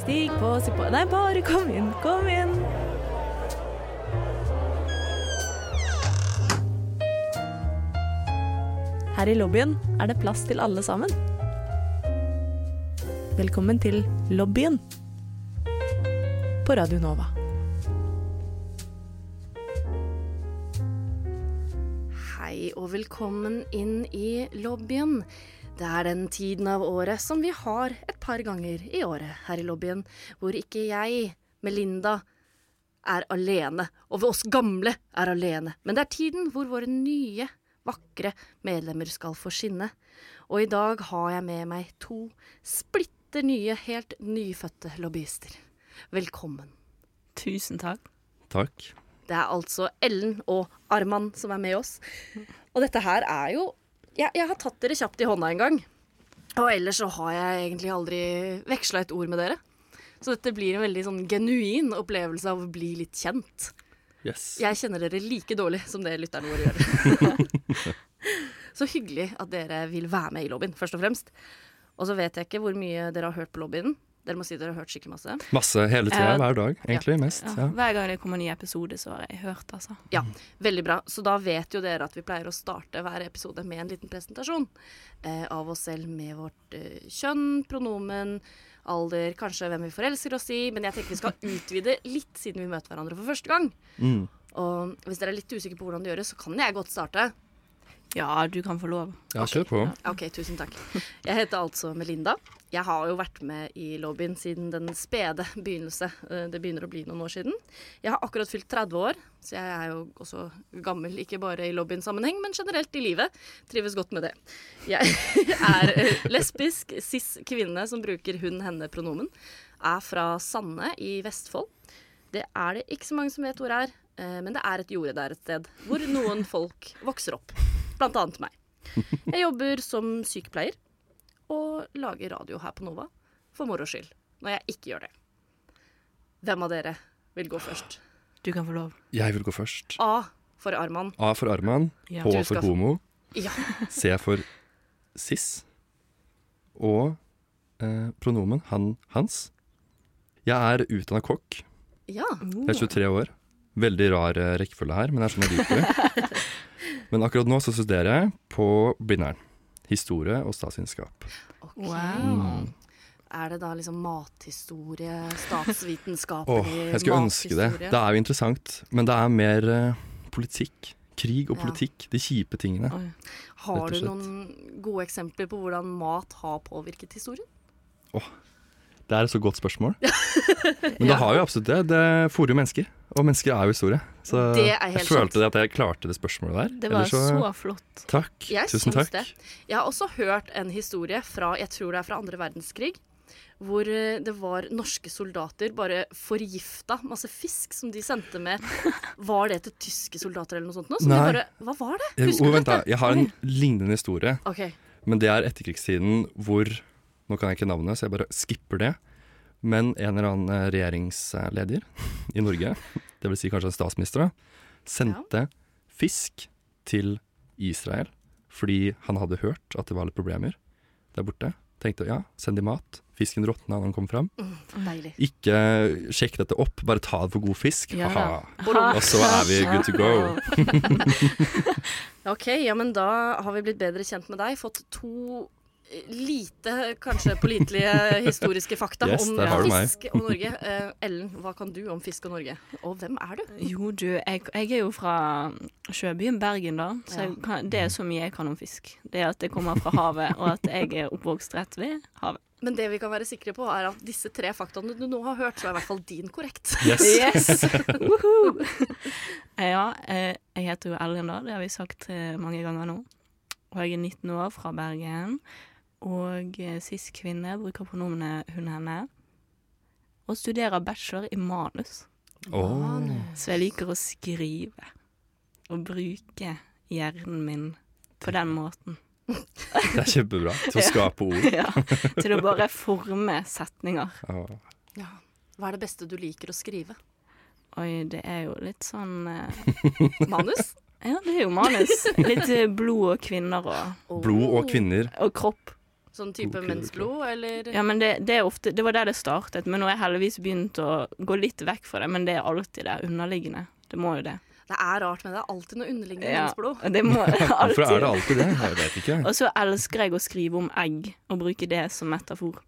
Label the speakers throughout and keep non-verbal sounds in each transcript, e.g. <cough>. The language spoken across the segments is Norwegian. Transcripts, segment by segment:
Speaker 1: Stig på, si på Nei, bare kom inn, kom inn. Her i lobbyen er det plass til alle sammen. Velkommen til lobbyen på Radio Nova.
Speaker 2: Hei og velkommen inn i lobbyen. Det er den tiden av året som vi har et par ganger i året her i lobbyen, hvor ikke jeg, Melinda, er alene, og vi oss gamle er alene. Men det er tiden hvor våre nye, vakre medlemmer skal få skinne. Og i dag har jeg med meg to splitter nye, helt nyfødte lobbyister. Velkommen.
Speaker 3: Tusen takk.
Speaker 4: Takk.
Speaker 2: Det er altså Ellen og Arman som er med oss. Og dette her er jo Jeg, jeg har tatt dere kjapt i hånda en gang. Og ellers så har jeg egentlig aldri veksla et ord med dere. Så dette blir en veldig sånn genuin opplevelse av å bli litt kjent.
Speaker 4: Yes.
Speaker 2: Jeg kjenner dere like dårlig som det lytterne våre gjør. <laughs> så hyggelig at dere vil være med i lobbyen, først og fremst. Og så vet jeg ikke hvor mye dere har hørt på lobbyen. Dere må si dere har hørt skikkelig masse.
Speaker 4: Masse hele tida,
Speaker 3: Ja.
Speaker 4: hver dag, egentlig. Mest.
Speaker 3: Ja.
Speaker 4: Ja.
Speaker 3: Hver gang det kommer en ny episode, så har jeg hørt, altså.
Speaker 2: Ja, veldig bra. Så da vet jo dere at vi pleier å starte hver episode med en liten presentasjon eh, av oss selv med vårt eh, kjønn, pronomen, alder, kanskje hvem vi forelsker oss i. Men jeg tenker vi skal utvide litt siden vi møter hverandre for første gang.
Speaker 4: Mm.
Speaker 2: Og hvis dere er litt usikre på hvordan det gjøres, så kan jeg godt starte.
Speaker 3: Ja, du kan få lov.
Speaker 4: ja, kjør på.
Speaker 2: Ja, OK, tusen takk. Jeg heter altså Melinda. Jeg har jo vært med i lobbyen siden den spede begynnelse. Eh, Det begynner å bli noen år siden. Jeg har akkurat fylt 30 år, så jeg er jo også gammel, ikke bare i lobbyens-sammenheng, men generelt i livet. Trives godt med det. Jeg <laughs> er eh, lesbisk, cis kvinne som bruker hun-henne-pronomen. Er fra Sande i Vestfold. Det er det ikke så mange som vet hvor er, eh, men det er et jorde der et sted, hvor noen folk vokser opp. Blant annet meg. Jeg jobber som sykepleier og lager radio her på Nova for moro skyld, når jeg ikke gjør det. Hvem av dere vil gå først?
Speaker 3: Du kan få lov.
Speaker 4: Jeg vil gå først.
Speaker 2: A for Arman.
Speaker 4: A for Arman.
Speaker 3: Ja.
Speaker 4: H
Speaker 2: Du skal
Speaker 4: for
Speaker 2: få-
Speaker 4: homo.
Speaker 2: Ja,
Speaker 4: C for cis. Og eh, pronomen han, hans. Jeg er utdanna kokk.
Speaker 2: ja.
Speaker 4: Jeg er 23 år. Veldig rar eh, rekkefølge her, men jeg skjønner jeg liker det. Men akkurat nå så studerer jeg på Blindern. Historie og statsvitenskap.
Speaker 2: ok.
Speaker 3: Wow.
Speaker 2: Er det da liksom mathistorie,
Speaker 4: Åh,
Speaker 2: statsvitenskapelig
Speaker 4: jeg skulle ønske det. Det er jo interessant, men det er mer eh, politikk. Krig og
Speaker 2: Ja.
Speaker 4: politikk. De kjipe tingene.
Speaker 3: Oi.
Speaker 2: Har
Speaker 4: rett
Speaker 2: du
Speaker 4: og
Speaker 2: noen gode eksempler på hvordan mat har påvirket historien?
Speaker 4: Det er et så godt spørsmål.
Speaker 2: <laughs>
Speaker 4: Men det har jo absolutt det. Det fôrer jo mennesker, og mennesker er jo historie. Så
Speaker 2: Det er helt
Speaker 4: jeg følte at jeg klarte det spørsmålet der.
Speaker 3: Det var
Speaker 4: Ellers så- eh,
Speaker 3: så flott.
Speaker 4: Takk.
Speaker 2: Jeg
Speaker 4: Tusen
Speaker 2: syns
Speaker 4: takk.
Speaker 2: det. Jeg har også hørt en historie fra jeg tror det er fra andre verdenskrig. Hvor eh, det var norske soldater bare forgifta masse fisk som de sendte med. Var det til tyske soldater eller noe sånt? Nå? Så de
Speaker 4: Nei.
Speaker 2: bare, Hva var det?
Speaker 4: Jeg,
Speaker 2: Husker
Speaker 4: oh,
Speaker 2: du
Speaker 4: vent,
Speaker 2: dette?
Speaker 4: da. Jeg har en lignende historie,
Speaker 2: Ok,
Speaker 4: men det er etterkrigstiden hvor Nå kan jeg ikke navnet, så jeg bare skipper det. Men en eller annen eh, regjeringsleder <laughs> i Norge, dvs. Si kanskje en statsminister, da, sendte fisk til Israel fordi han hadde hørt at det var litt problemer der borte. Tenkte ja, send de mat. Fisken råtna når den kom fram.
Speaker 2: Deilig.
Speaker 4: Ikke eh, sjekk dette opp, bare ta det for god fisk.
Speaker 3: Ja.
Speaker 4: Aha.
Speaker 2: Borom.
Speaker 4: Og så er vi good to go.
Speaker 2: Ok, ja, men da har vi blitt bedre kjent med deg. Fått to eh, lite, kanskje
Speaker 4: <laughs>
Speaker 2: pålitelige historiske fakta
Speaker 4: Yes,
Speaker 2: om
Speaker 4: der har du meg.
Speaker 2: fisk og Norge. Eh, Ellen, hva kan du om fisk og Norge? Og hvem er du?
Speaker 3: Jo, du, jeg, jeg er jo fra sjøbyen Bergen, da, så jeg kan, det er så mye jeg kan om fisk. Det er at det kommer fra havet, og at jeg er oppvokst rett ved havet.
Speaker 2: Men det vi kan være sikre på, er at disse tre faktaene du nå har hørt, så er i hvert fall din korrekt.
Speaker 4: Yes. <laughs>
Speaker 3: Yes! Woohoo! ja, eh, jeg heter jo Ellen, da. Det har vi sagt eh, mange ganger nå. Og jeg er 19 år, fra Bergen. Og eh, sist kvinne, bruker pronomenet hun-henne. Og studerer bachelor i manus.
Speaker 4: Åh.
Speaker 3: Så jeg liker å skrive. Og bruke hjernen min på den måten.
Speaker 4: det er kjempebra. Til å skape ord.
Speaker 3: <laughs> ja. <laughs> Til å bare forme setninger.
Speaker 4: Åh.
Speaker 2: <laughs> Ja. Hva er det beste du liker å skrive?
Speaker 3: Oi, det er jo litt sånn eh,
Speaker 2: Manus?
Speaker 3: <laughs> Ja, det er jo manus. Litt eh, blod og kvinner og,
Speaker 2: Og-
Speaker 4: Blod og kvinner.
Speaker 3: og kropp.
Speaker 2: Sånn type
Speaker 4: Ok,
Speaker 2: mensblod, eller
Speaker 3: Ja, men det, det, er ofte, det var der det startet, men nå har jeg heldigvis begynt å gå litt vekk fra det. Men det er alltid der underliggende. Det må jo det.
Speaker 2: Det er rart, men det er alltid noe underliggende
Speaker 3: <laughs> Ja,
Speaker 2: mensblod.
Speaker 3: det må
Speaker 4: Hvorfor er det
Speaker 3: alltid.
Speaker 4: alltid det? Jeg vet
Speaker 3: <laughs>
Speaker 4: ikke.
Speaker 3: Og så elsker jeg å skrive om egg og bruke det som metafor.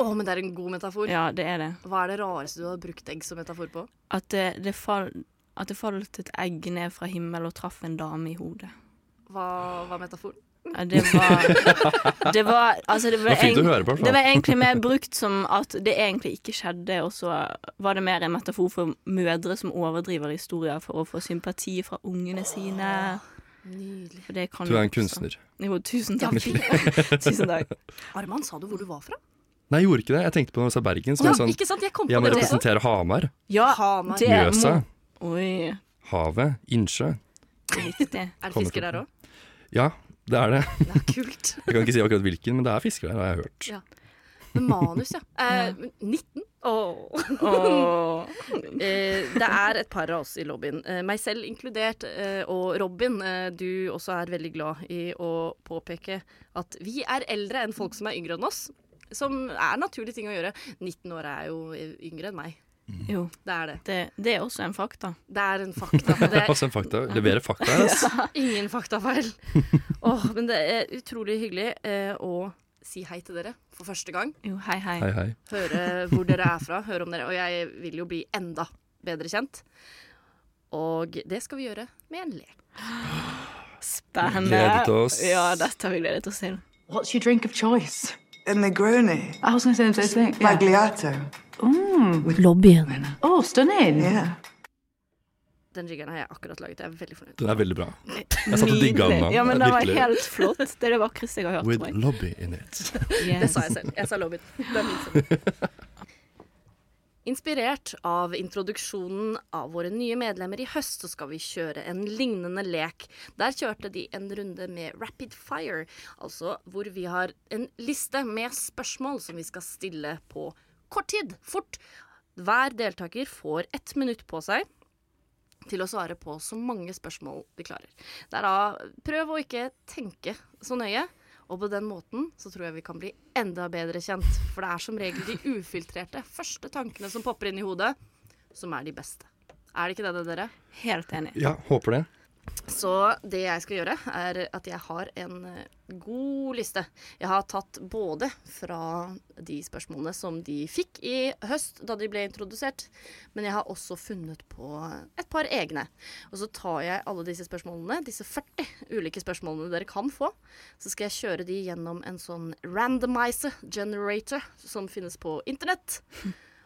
Speaker 2: Å, men det er en god metafor.
Speaker 3: Ja, det er det.
Speaker 2: Hva er det rareste du har brukt egg som metafor på?
Speaker 3: At det, det, fall, at det falt et egg ned fra himmelen og traff en dame i hodet.
Speaker 2: Hva var metaforen?
Speaker 3: Ja,
Speaker 4: <laughs>
Speaker 3: det var Det var, altså det var,
Speaker 4: Det var fint å
Speaker 3: egent-
Speaker 4: høre på, i hvert fall.
Speaker 3: det var egentlig mer brukt som at det egentlig ikke skjedde, og så var det mer en metafor for mødre som overdriver historier for å få sympati fra ungene sine.
Speaker 2: Nydelig.
Speaker 3: For det kan
Speaker 4: Du er en
Speaker 3: jo også.
Speaker 4: kunstner.
Speaker 3: Jo, tusen
Speaker 2: Ja,
Speaker 3: takk. <laughs> tusen takk.
Speaker 2: Arman, sa du hvor du var fra?
Speaker 4: Nei, jeg gjorde ikke det. Jeg tenkte på når jeg sa Bergen. Så
Speaker 2: Ja,
Speaker 4: var jeg sånn,
Speaker 2: ikke sant? Jeg kom på
Speaker 4: jeg må
Speaker 2: det også.
Speaker 4: representere Hamar.
Speaker 3: Ja,
Speaker 2: Hamar.
Speaker 3: det må-
Speaker 4: Mjøsa.
Speaker 3: Oi,
Speaker 4: Havet. Innsjø.
Speaker 3: riktig.
Speaker 2: Er det
Speaker 4: Kommer
Speaker 2: fisker der
Speaker 4: fra-
Speaker 2: òg?
Speaker 4: Ja, det <laughs> er det.
Speaker 2: Ja, kult.
Speaker 4: Jeg kan ikke si akkurat hvilken, men det er fisker der, har jeg hørt.
Speaker 2: Men manus, ja. Eh, 19? Åh.
Speaker 3: Åh.
Speaker 2: Eh, det er et par av oss i lobbyen, eh, meg selv inkludert, eh, og Robin, eh, du også er veldig glad i å påpeke at vi er eldre enn folk som er yngre enn oss. Som er en naturlig ting å gjøre. 19 år er jo yngre enn meg.
Speaker 3: Jo,
Speaker 2: Det er det.
Speaker 3: det, det er også en fakta.
Speaker 2: Det er en fakta. og
Speaker 4: <laughs>
Speaker 2: Det er
Speaker 4: Også en fakta. Levere fakta. ass.
Speaker 2: ingen faktafeil. Åh, men det er utrolig hyggelig eh, å si hei til dere for første gang.
Speaker 3: Jo, hei, hei.
Speaker 4: Hei, hei.
Speaker 2: Høre hvor dere er fra, høre om dere. Og jeg vil jo bli enda bedre kjent. Og det skal vi gjøre med en lek.
Speaker 3: Spennende.
Speaker 4: Gledet oss.
Speaker 3: Ja, dette har vi gledet oss til.
Speaker 5: What's your drink of choice?
Speaker 6: A Negroni.
Speaker 5: I was going to say the same thing. Yeah.
Speaker 6: Magliato.
Speaker 1: Lobbyen.
Speaker 5: Oh, stunning.
Speaker 6: Yeah.
Speaker 2: Den jiggeren har jeg akkurat laget. Jeg er veldig fornøyd.
Speaker 4: Den er veldig bra. Jeg satt og digga den. da.
Speaker 3: Ja, men den var
Speaker 4: Virkelig.
Speaker 3: helt flott. Det er det vakreste jeg har hørt.
Speaker 4: With
Speaker 3: tror jeg.
Speaker 4: lobby in it.
Speaker 2: <laughs> Det sa jeg selv. Jeg sa lobbyen. Det er min selv. Inspirert av introduksjonen av våre nye medlemmer i høst, så skal vi kjøre en lignende lek. Der kjørte de en runde med rapid fire, altså hvor vi har en liste med spørsmål som vi skal stille på kort tid, fort. Hver deltaker får ett minutt på seg til å svare på så mange spørsmål de klarer. Derav prøv å ikke tenke så nøye. Og på den måten så tror jeg vi kan bli enda bedre kjent. For det er som regel de ufiltrerte første tankene som popper inn i hodet, som er de beste. Er det ikke det, det, dere?
Speaker 3: Helt enig.
Speaker 4: <laughs> Ja, håper det.
Speaker 2: Så det jeg skal gjøre, er at jeg har en eh, god liste. Jeg har tatt både fra de spørsmålene som de fikk i høst da de ble introdusert, men jeg har også funnet på et par egne. Og så tar jeg alle disse spørsmålene, disse 40 ulike spørsmålene dere kan få, så skal jeg kjøre de gjennom en sånn randomizer generator som finnes på internett.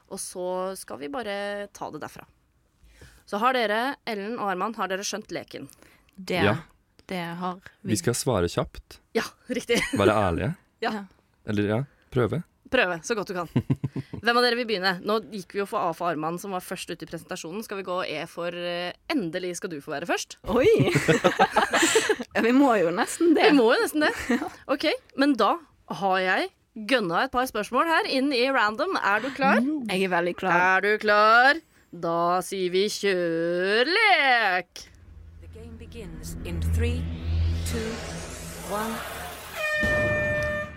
Speaker 2: Og så skal vi bare ta det derfra. Så har dere, Ellen og Arman, har dere skjønt leken?
Speaker 3: Det,
Speaker 4: Ja.
Speaker 3: det har vi.
Speaker 4: Vi skal svare kjapt.
Speaker 2: Ja, riktig. <laughs>
Speaker 4: Være ærlige.
Speaker 2: Ja.
Speaker 4: Eller ja, prøve.
Speaker 2: Prøve så godt du kan. Hvem av dere vil begynne? Nå gikk vi jo for A for Arman, som var først ute i presentasjonen. Skal vi gå E for eh, Endelig skal du få være først?
Speaker 3: Oi!
Speaker 4: <laughs>
Speaker 3: ja, vi må jo nesten det.
Speaker 2: Vi må jo nesten det. OK, men da har jeg gønna et par spørsmål her inn i random. Er du klar?
Speaker 3: Jeg er veldig klar.
Speaker 2: Er du klar? Da sier vi kjør lek!
Speaker 7: The game begins in three, two, one.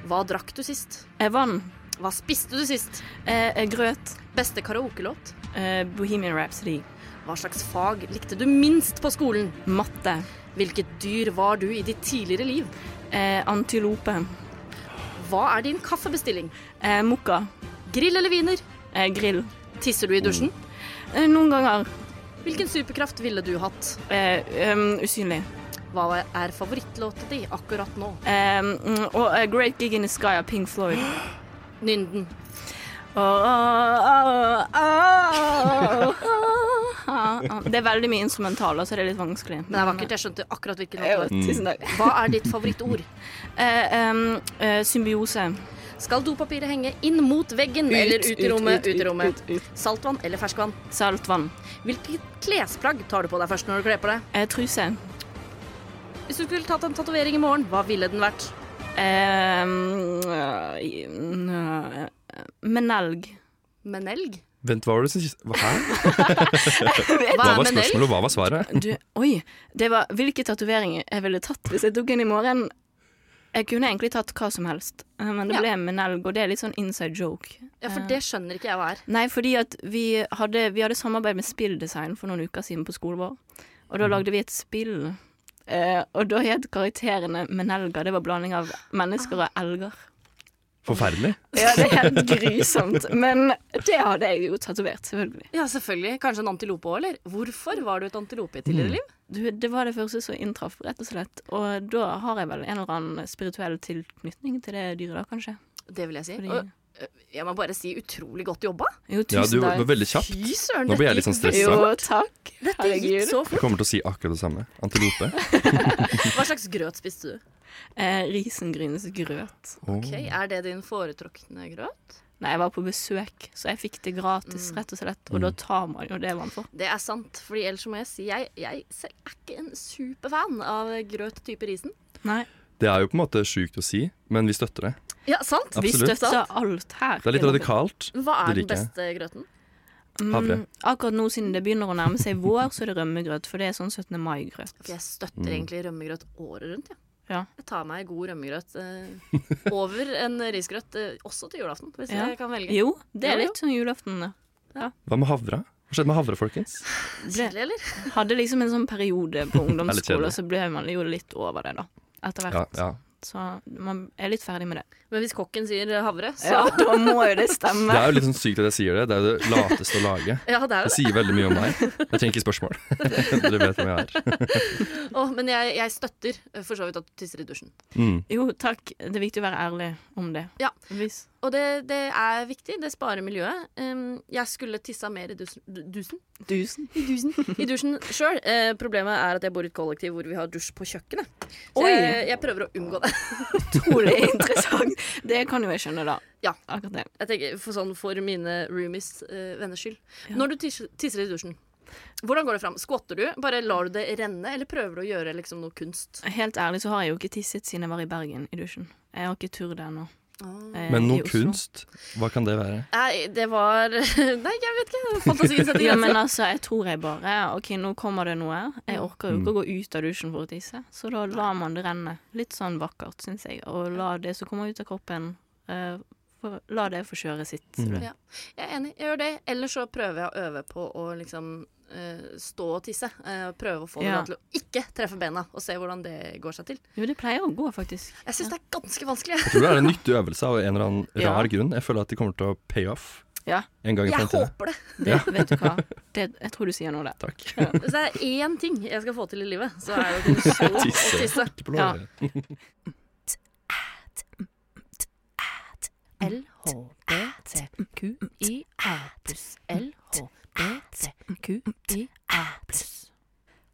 Speaker 2: Hva drakk du sist?
Speaker 3: Eh, Vann.
Speaker 2: Hva spiste du sist?
Speaker 3: Eh, eh, grøt.
Speaker 2: Beste karaokelåt?
Speaker 3: Eh, Bohemian Rhapsody.
Speaker 2: Hva slags fag likte du minst på skolen?
Speaker 3: Matte.
Speaker 2: Hvilket dyr var du i ditt tidligere liv?
Speaker 3: Eh, antilope.
Speaker 2: Hva er din kaffebestilling?
Speaker 3: Eh, Mokka.
Speaker 2: Grill eller wiener?
Speaker 3: Eh, grill.
Speaker 2: Tisser du i dusjen?
Speaker 3: Eh, noen ganger
Speaker 2: Hvilken superkraft ville du hatt?
Speaker 3: eh, em, usynlig.
Speaker 2: Hva er favorittlåta di akkurat nå?
Speaker 3: Eh, mm, og eh, Great Gig in the Sky av Pink Floyd. <gasps>
Speaker 2: Nynden.
Speaker 3: Åh, åh, åh, åh, <laughs> åh. Det er veldig mye instrumental, så det er litt vanskelig.
Speaker 2: Men det er vakkert, jeg skjønte akkurat hvilken
Speaker 3: Eh,
Speaker 2: låt det var.
Speaker 3: Tusen takk.
Speaker 2: Hva er ditt favorittord?
Speaker 3: Eh, em, eh, symbiose.
Speaker 2: Skal dopapiret henge inn mot veggen eller ut i rommet? Ut i rommet. Saltvann eller ferskvann?
Speaker 3: Saltvann.
Speaker 2: Hvilket klesplagg tar du på deg først når du kler på deg?
Speaker 3: Eh, truse.
Speaker 2: Hvis du skulle tatt en tatovering i morgen, hva ville den vært?
Speaker 3: Eh, mm, eh, menelg.
Speaker 2: Menelg?
Speaker 4: Vent, hva var det som sist Hva hæ?
Speaker 2: Hva
Speaker 4: Hva
Speaker 2: er
Speaker 4: var
Speaker 2: menelg?
Speaker 4: spørsmålet, og hva var svaret?
Speaker 3: Du, oi. Det var hvilke tatoveringer jeg ville tatt hvis jeg tok en i morgen. Jeg kunne egentlig tatt hva som helst, eh, men det
Speaker 2: Ja.
Speaker 3: ble med nelg, og det er litt sånn inside joke.
Speaker 2: Ja, for det skjønner ikke jeg hva er.
Speaker 3: Nei, fordi at vi hadde, vi hadde samarbeid med Spilldesign for noen uker siden på skolen vår. Og da lagde vi et spill. Eh, og da het karakterene Menelger. Det var blanding av mennesker og elger.
Speaker 4: Forferdelig.
Speaker 3: Ja, det er <laughs> helt grusomt. Men det hadde jeg jo tatovert, selvfølgelig.
Speaker 2: Ja, selvfølgelig. Kanskje en antilope òg, eller? Hvorfor var du et antilope i
Speaker 4: Mm.
Speaker 2: tidligere liv?
Speaker 3: Du, det var det første som inntraff, rett og slett. Og da har jeg vel en eller annen spirituell tilknytning til det dyret, da, kanskje.
Speaker 2: Det vil jeg si.
Speaker 3: Fordi-
Speaker 2: Og, øh, jeg må bare si utrolig godt jobba.
Speaker 3: Jo,
Speaker 4: Ja, du
Speaker 3: tusen
Speaker 4: var
Speaker 3: takk.
Speaker 4: veldig kjapp.
Speaker 2: Fy søren,
Speaker 4: Nå blir jeg
Speaker 2: dette
Speaker 4: litt sånn
Speaker 2: gikk
Speaker 4: stressa.
Speaker 2: veldig
Speaker 3: Jo,
Speaker 2: fort.
Speaker 3: takk.
Speaker 2: Dette gikk så
Speaker 4: Du
Speaker 2: fort.
Speaker 4: kommer til å si akkurat det samme. Antilope.
Speaker 2: Hva slags grøt spiste du?
Speaker 3: Eh, Risengrynsgrøt.
Speaker 4: Åh.
Speaker 2: Ok, Er det din foretrukne grøt?
Speaker 3: Nei, jeg var på besøk, så jeg fikk det gratis, rett og slett.
Speaker 4: Mm.
Speaker 3: Og da tar man jo det man får.
Speaker 2: Det er sant, fordi ellers må jeg si jeg, jeg selv er ikke en superfan av grøt type risen.
Speaker 3: Nei,
Speaker 4: Det er jo på en måte sjukt å si, men vi støtter det.
Speaker 2: Ja, sant?
Speaker 4: Absolutt.
Speaker 3: vi støtter alt her.
Speaker 4: Det er litt radikalt.
Speaker 2: Hva er den
Speaker 4: Det liker jeg.
Speaker 2: beste grøten?
Speaker 4: Havre.
Speaker 3: Mm, akkurat nå, siden det begynner å nærme seg vår, så er det rømmegrøt. For det er sånn 17. mai-grøt.
Speaker 2: For jeg støtter egentlig rømmegrøt året rundt. Ja.
Speaker 3: Ja.
Speaker 2: Jeg tar meg god rømmegrøt eh, over en risgrøt, eh, også til julaften, hvis
Speaker 3: Ja.
Speaker 2: jeg kan velge.
Speaker 3: Jo, det er
Speaker 2: Jo, jo.
Speaker 3: litt sånn julaften. da.
Speaker 4: Hva med havre? Hva skjedde med havre, folkens?
Speaker 2: Kjedelig, eller?
Speaker 3: Hadde liksom en sånn periode
Speaker 4: <laughs>
Speaker 3: på
Speaker 4: litt
Speaker 3: ungdomsskolen,
Speaker 4: kjedelig.
Speaker 3: så ble man jo litt over det, da. Etter
Speaker 4: Ja,
Speaker 3: hvert.
Speaker 4: ja.
Speaker 3: Så man er litt ferdig med det.
Speaker 2: Men hvis kokken sier eh, havre, så
Speaker 3: <laughs> Ja,
Speaker 2: <laughs> Ja,
Speaker 3: da må jo det
Speaker 4: Det
Speaker 3: stemme.
Speaker 4: er jo litt sånn sykt at jeg sier det. Det er jo det lateste å lage.
Speaker 2: det er
Speaker 4: Det
Speaker 2: jo det.
Speaker 4: sier veldig mye om meg. Jeg trenger ikke spørsmål. Dere vet hvem jeg er.
Speaker 2: Å, men jeg, jeg støtter eh, for så vidt at du tisser i dusjen.
Speaker 4: Mm.
Speaker 3: Jo, takk. Det er viktig å være ærlig om det.
Speaker 2: Ja.
Speaker 3: Hvis.
Speaker 2: Og det, det er viktig. Det sparer miljøet. Um, jeg skulle tissa mer i dus- du- dusen.
Speaker 3: Tusen.
Speaker 2: I
Speaker 3: <laughs>
Speaker 2: dusjen, I dusjen sjøl. Eh, problemet er at jeg bor i et kollektiv hvor vi har dusj på kjøkkenet. Så
Speaker 3: Oi.
Speaker 2: jeg, jeg prøver å unngå det.
Speaker 3: Utrolig interessant. Det kan jo jeg skjønne, da.
Speaker 2: Ja.
Speaker 3: Akkurat det.
Speaker 2: Jeg tenker For sånn for mine roomies eh, venners skyld. Når du tisser, tisser i dusjen, hvordan går det fram? Skvatter du? Bare lar du det renne, eller prøver du å gjøre liksom noe kunst?
Speaker 3: Helt ærlig så har jeg jo ikke tisset siden jeg var i Bergen i dusjen. Jeg har ikke tur der nå. Eh,
Speaker 4: Men
Speaker 3: i
Speaker 4: noe
Speaker 3: Oslo.
Speaker 4: kunst, hva kan det være?
Speaker 2: Nei, det var <laughs> Nei, jeg vet ikke. Fantasien setter
Speaker 3: Ja, men
Speaker 2: grenser.
Speaker 3: altså, jeg tror jeg bare OK, nå kommer det noe. Jeg orker
Speaker 4: Mm.
Speaker 3: jo ikke å gå ut av dusjen for å tisse, så da lar man det renne. Litt sånn vakkert, syns jeg. Og la det som kommer ut av kroppen, eh, få- la det få kjøre sitt
Speaker 4: Mm.
Speaker 3: løp.
Speaker 2: Ja, jeg er enig. Jeg gjør det. Eller så prøver jeg å øve på å liksom eh, stå og tisse. Eh, prøve å få det
Speaker 3: Ja.
Speaker 2: da til å ikke treffe bena, og se hvordan det går seg til.
Speaker 3: Jo, det pleier å gå, faktisk.
Speaker 2: Jeg syns det er ganske vanskelig.
Speaker 4: Jeg tror det er en nyttig øvelse av en eller annen
Speaker 3: Ja.
Speaker 4: rar grunn. Jeg føler at de kommer til å pay off
Speaker 3: Ja,
Speaker 4: en gang i
Speaker 2: Jeg
Speaker 4: fremtiden.
Speaker 2: håper det.
Speaker 3: det, vet du hva. Det, jeg tror du sier noe der.
Speaker 4: Takk.
Speaker 2: Hvis det er én ting jeg skal få til i livet, så er det å kunne stå og
Speaker 4: Tisse.
Speaker 2: tisse.
Speaker 4: Ikke på låret.
Speaker 1: LHBTQIA pluss. LHBTQIA pluss.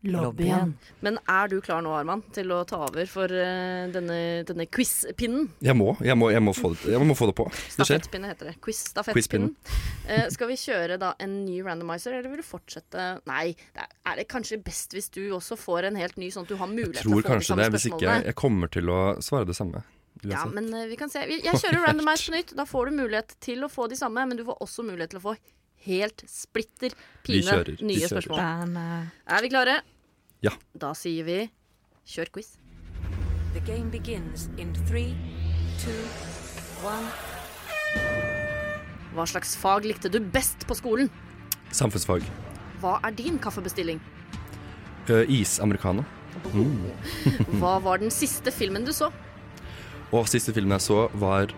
Speaker 1: Lobbyen.
Speaker 2: Men er du klar nå, Arman, til å ta over for eh, denne, denne quiz-pinnen?
Speaker 4: Jeg må, jeg må, jeg må, få, det, jeg må få det på. Det skjer.
Speaker 2: Stafettpinne heter det. Quiz, stafettpinnen. Eh, skal vi kjøre da en ny randomizer, eller vil du fortsette Nei, det er, er det kanskje best hvis du også får en helt ny, sånn at du har mulighet til å
Speaker 4: Tror
Speaker 2: få de
Speaker 4: kanskje
Speaker 2: samme
Speaker 4: det, hvis ikke
Speaker 2: spørsmålene?
Speaker 4: jeg kommer til å svare det samme.
Speaker 2: Ja,
Speaker 4: Uansett.
Speaker 2: men eh, vi kan se. Vi- Jeg
Speaker 4: <laughs>
Speaker 2: kjører randomize på nytt. Da får du mulighet til å få de samme, men du får også mulighet til å få helt splitter
Speaker 4: Vi
Speaker 2: pine
Speaker 4: kjører, vi
Speaker 2: nye
Speaker 4: kjører.
Speaker 2: spørsmål.
Speaker 3: Bandet.
Speaker 2: Er vi klare?
Speaker 4: Ja.
Speaker 2: Da sier vi kjør quiz.
Speaker 7: The game begins in three, two, one.
Speaker 2: Hva slags fag likte du best på skolen?
Speaker 4: Samfunnsfag.
Speaker 2: Hva er din kaffebestilling?
Speaker 4: Uh, Isamerikaner. Hmm.
Speaker 2: Hva var den siste filmen du så?
Speaker 4: Og siste filmen jeg så, var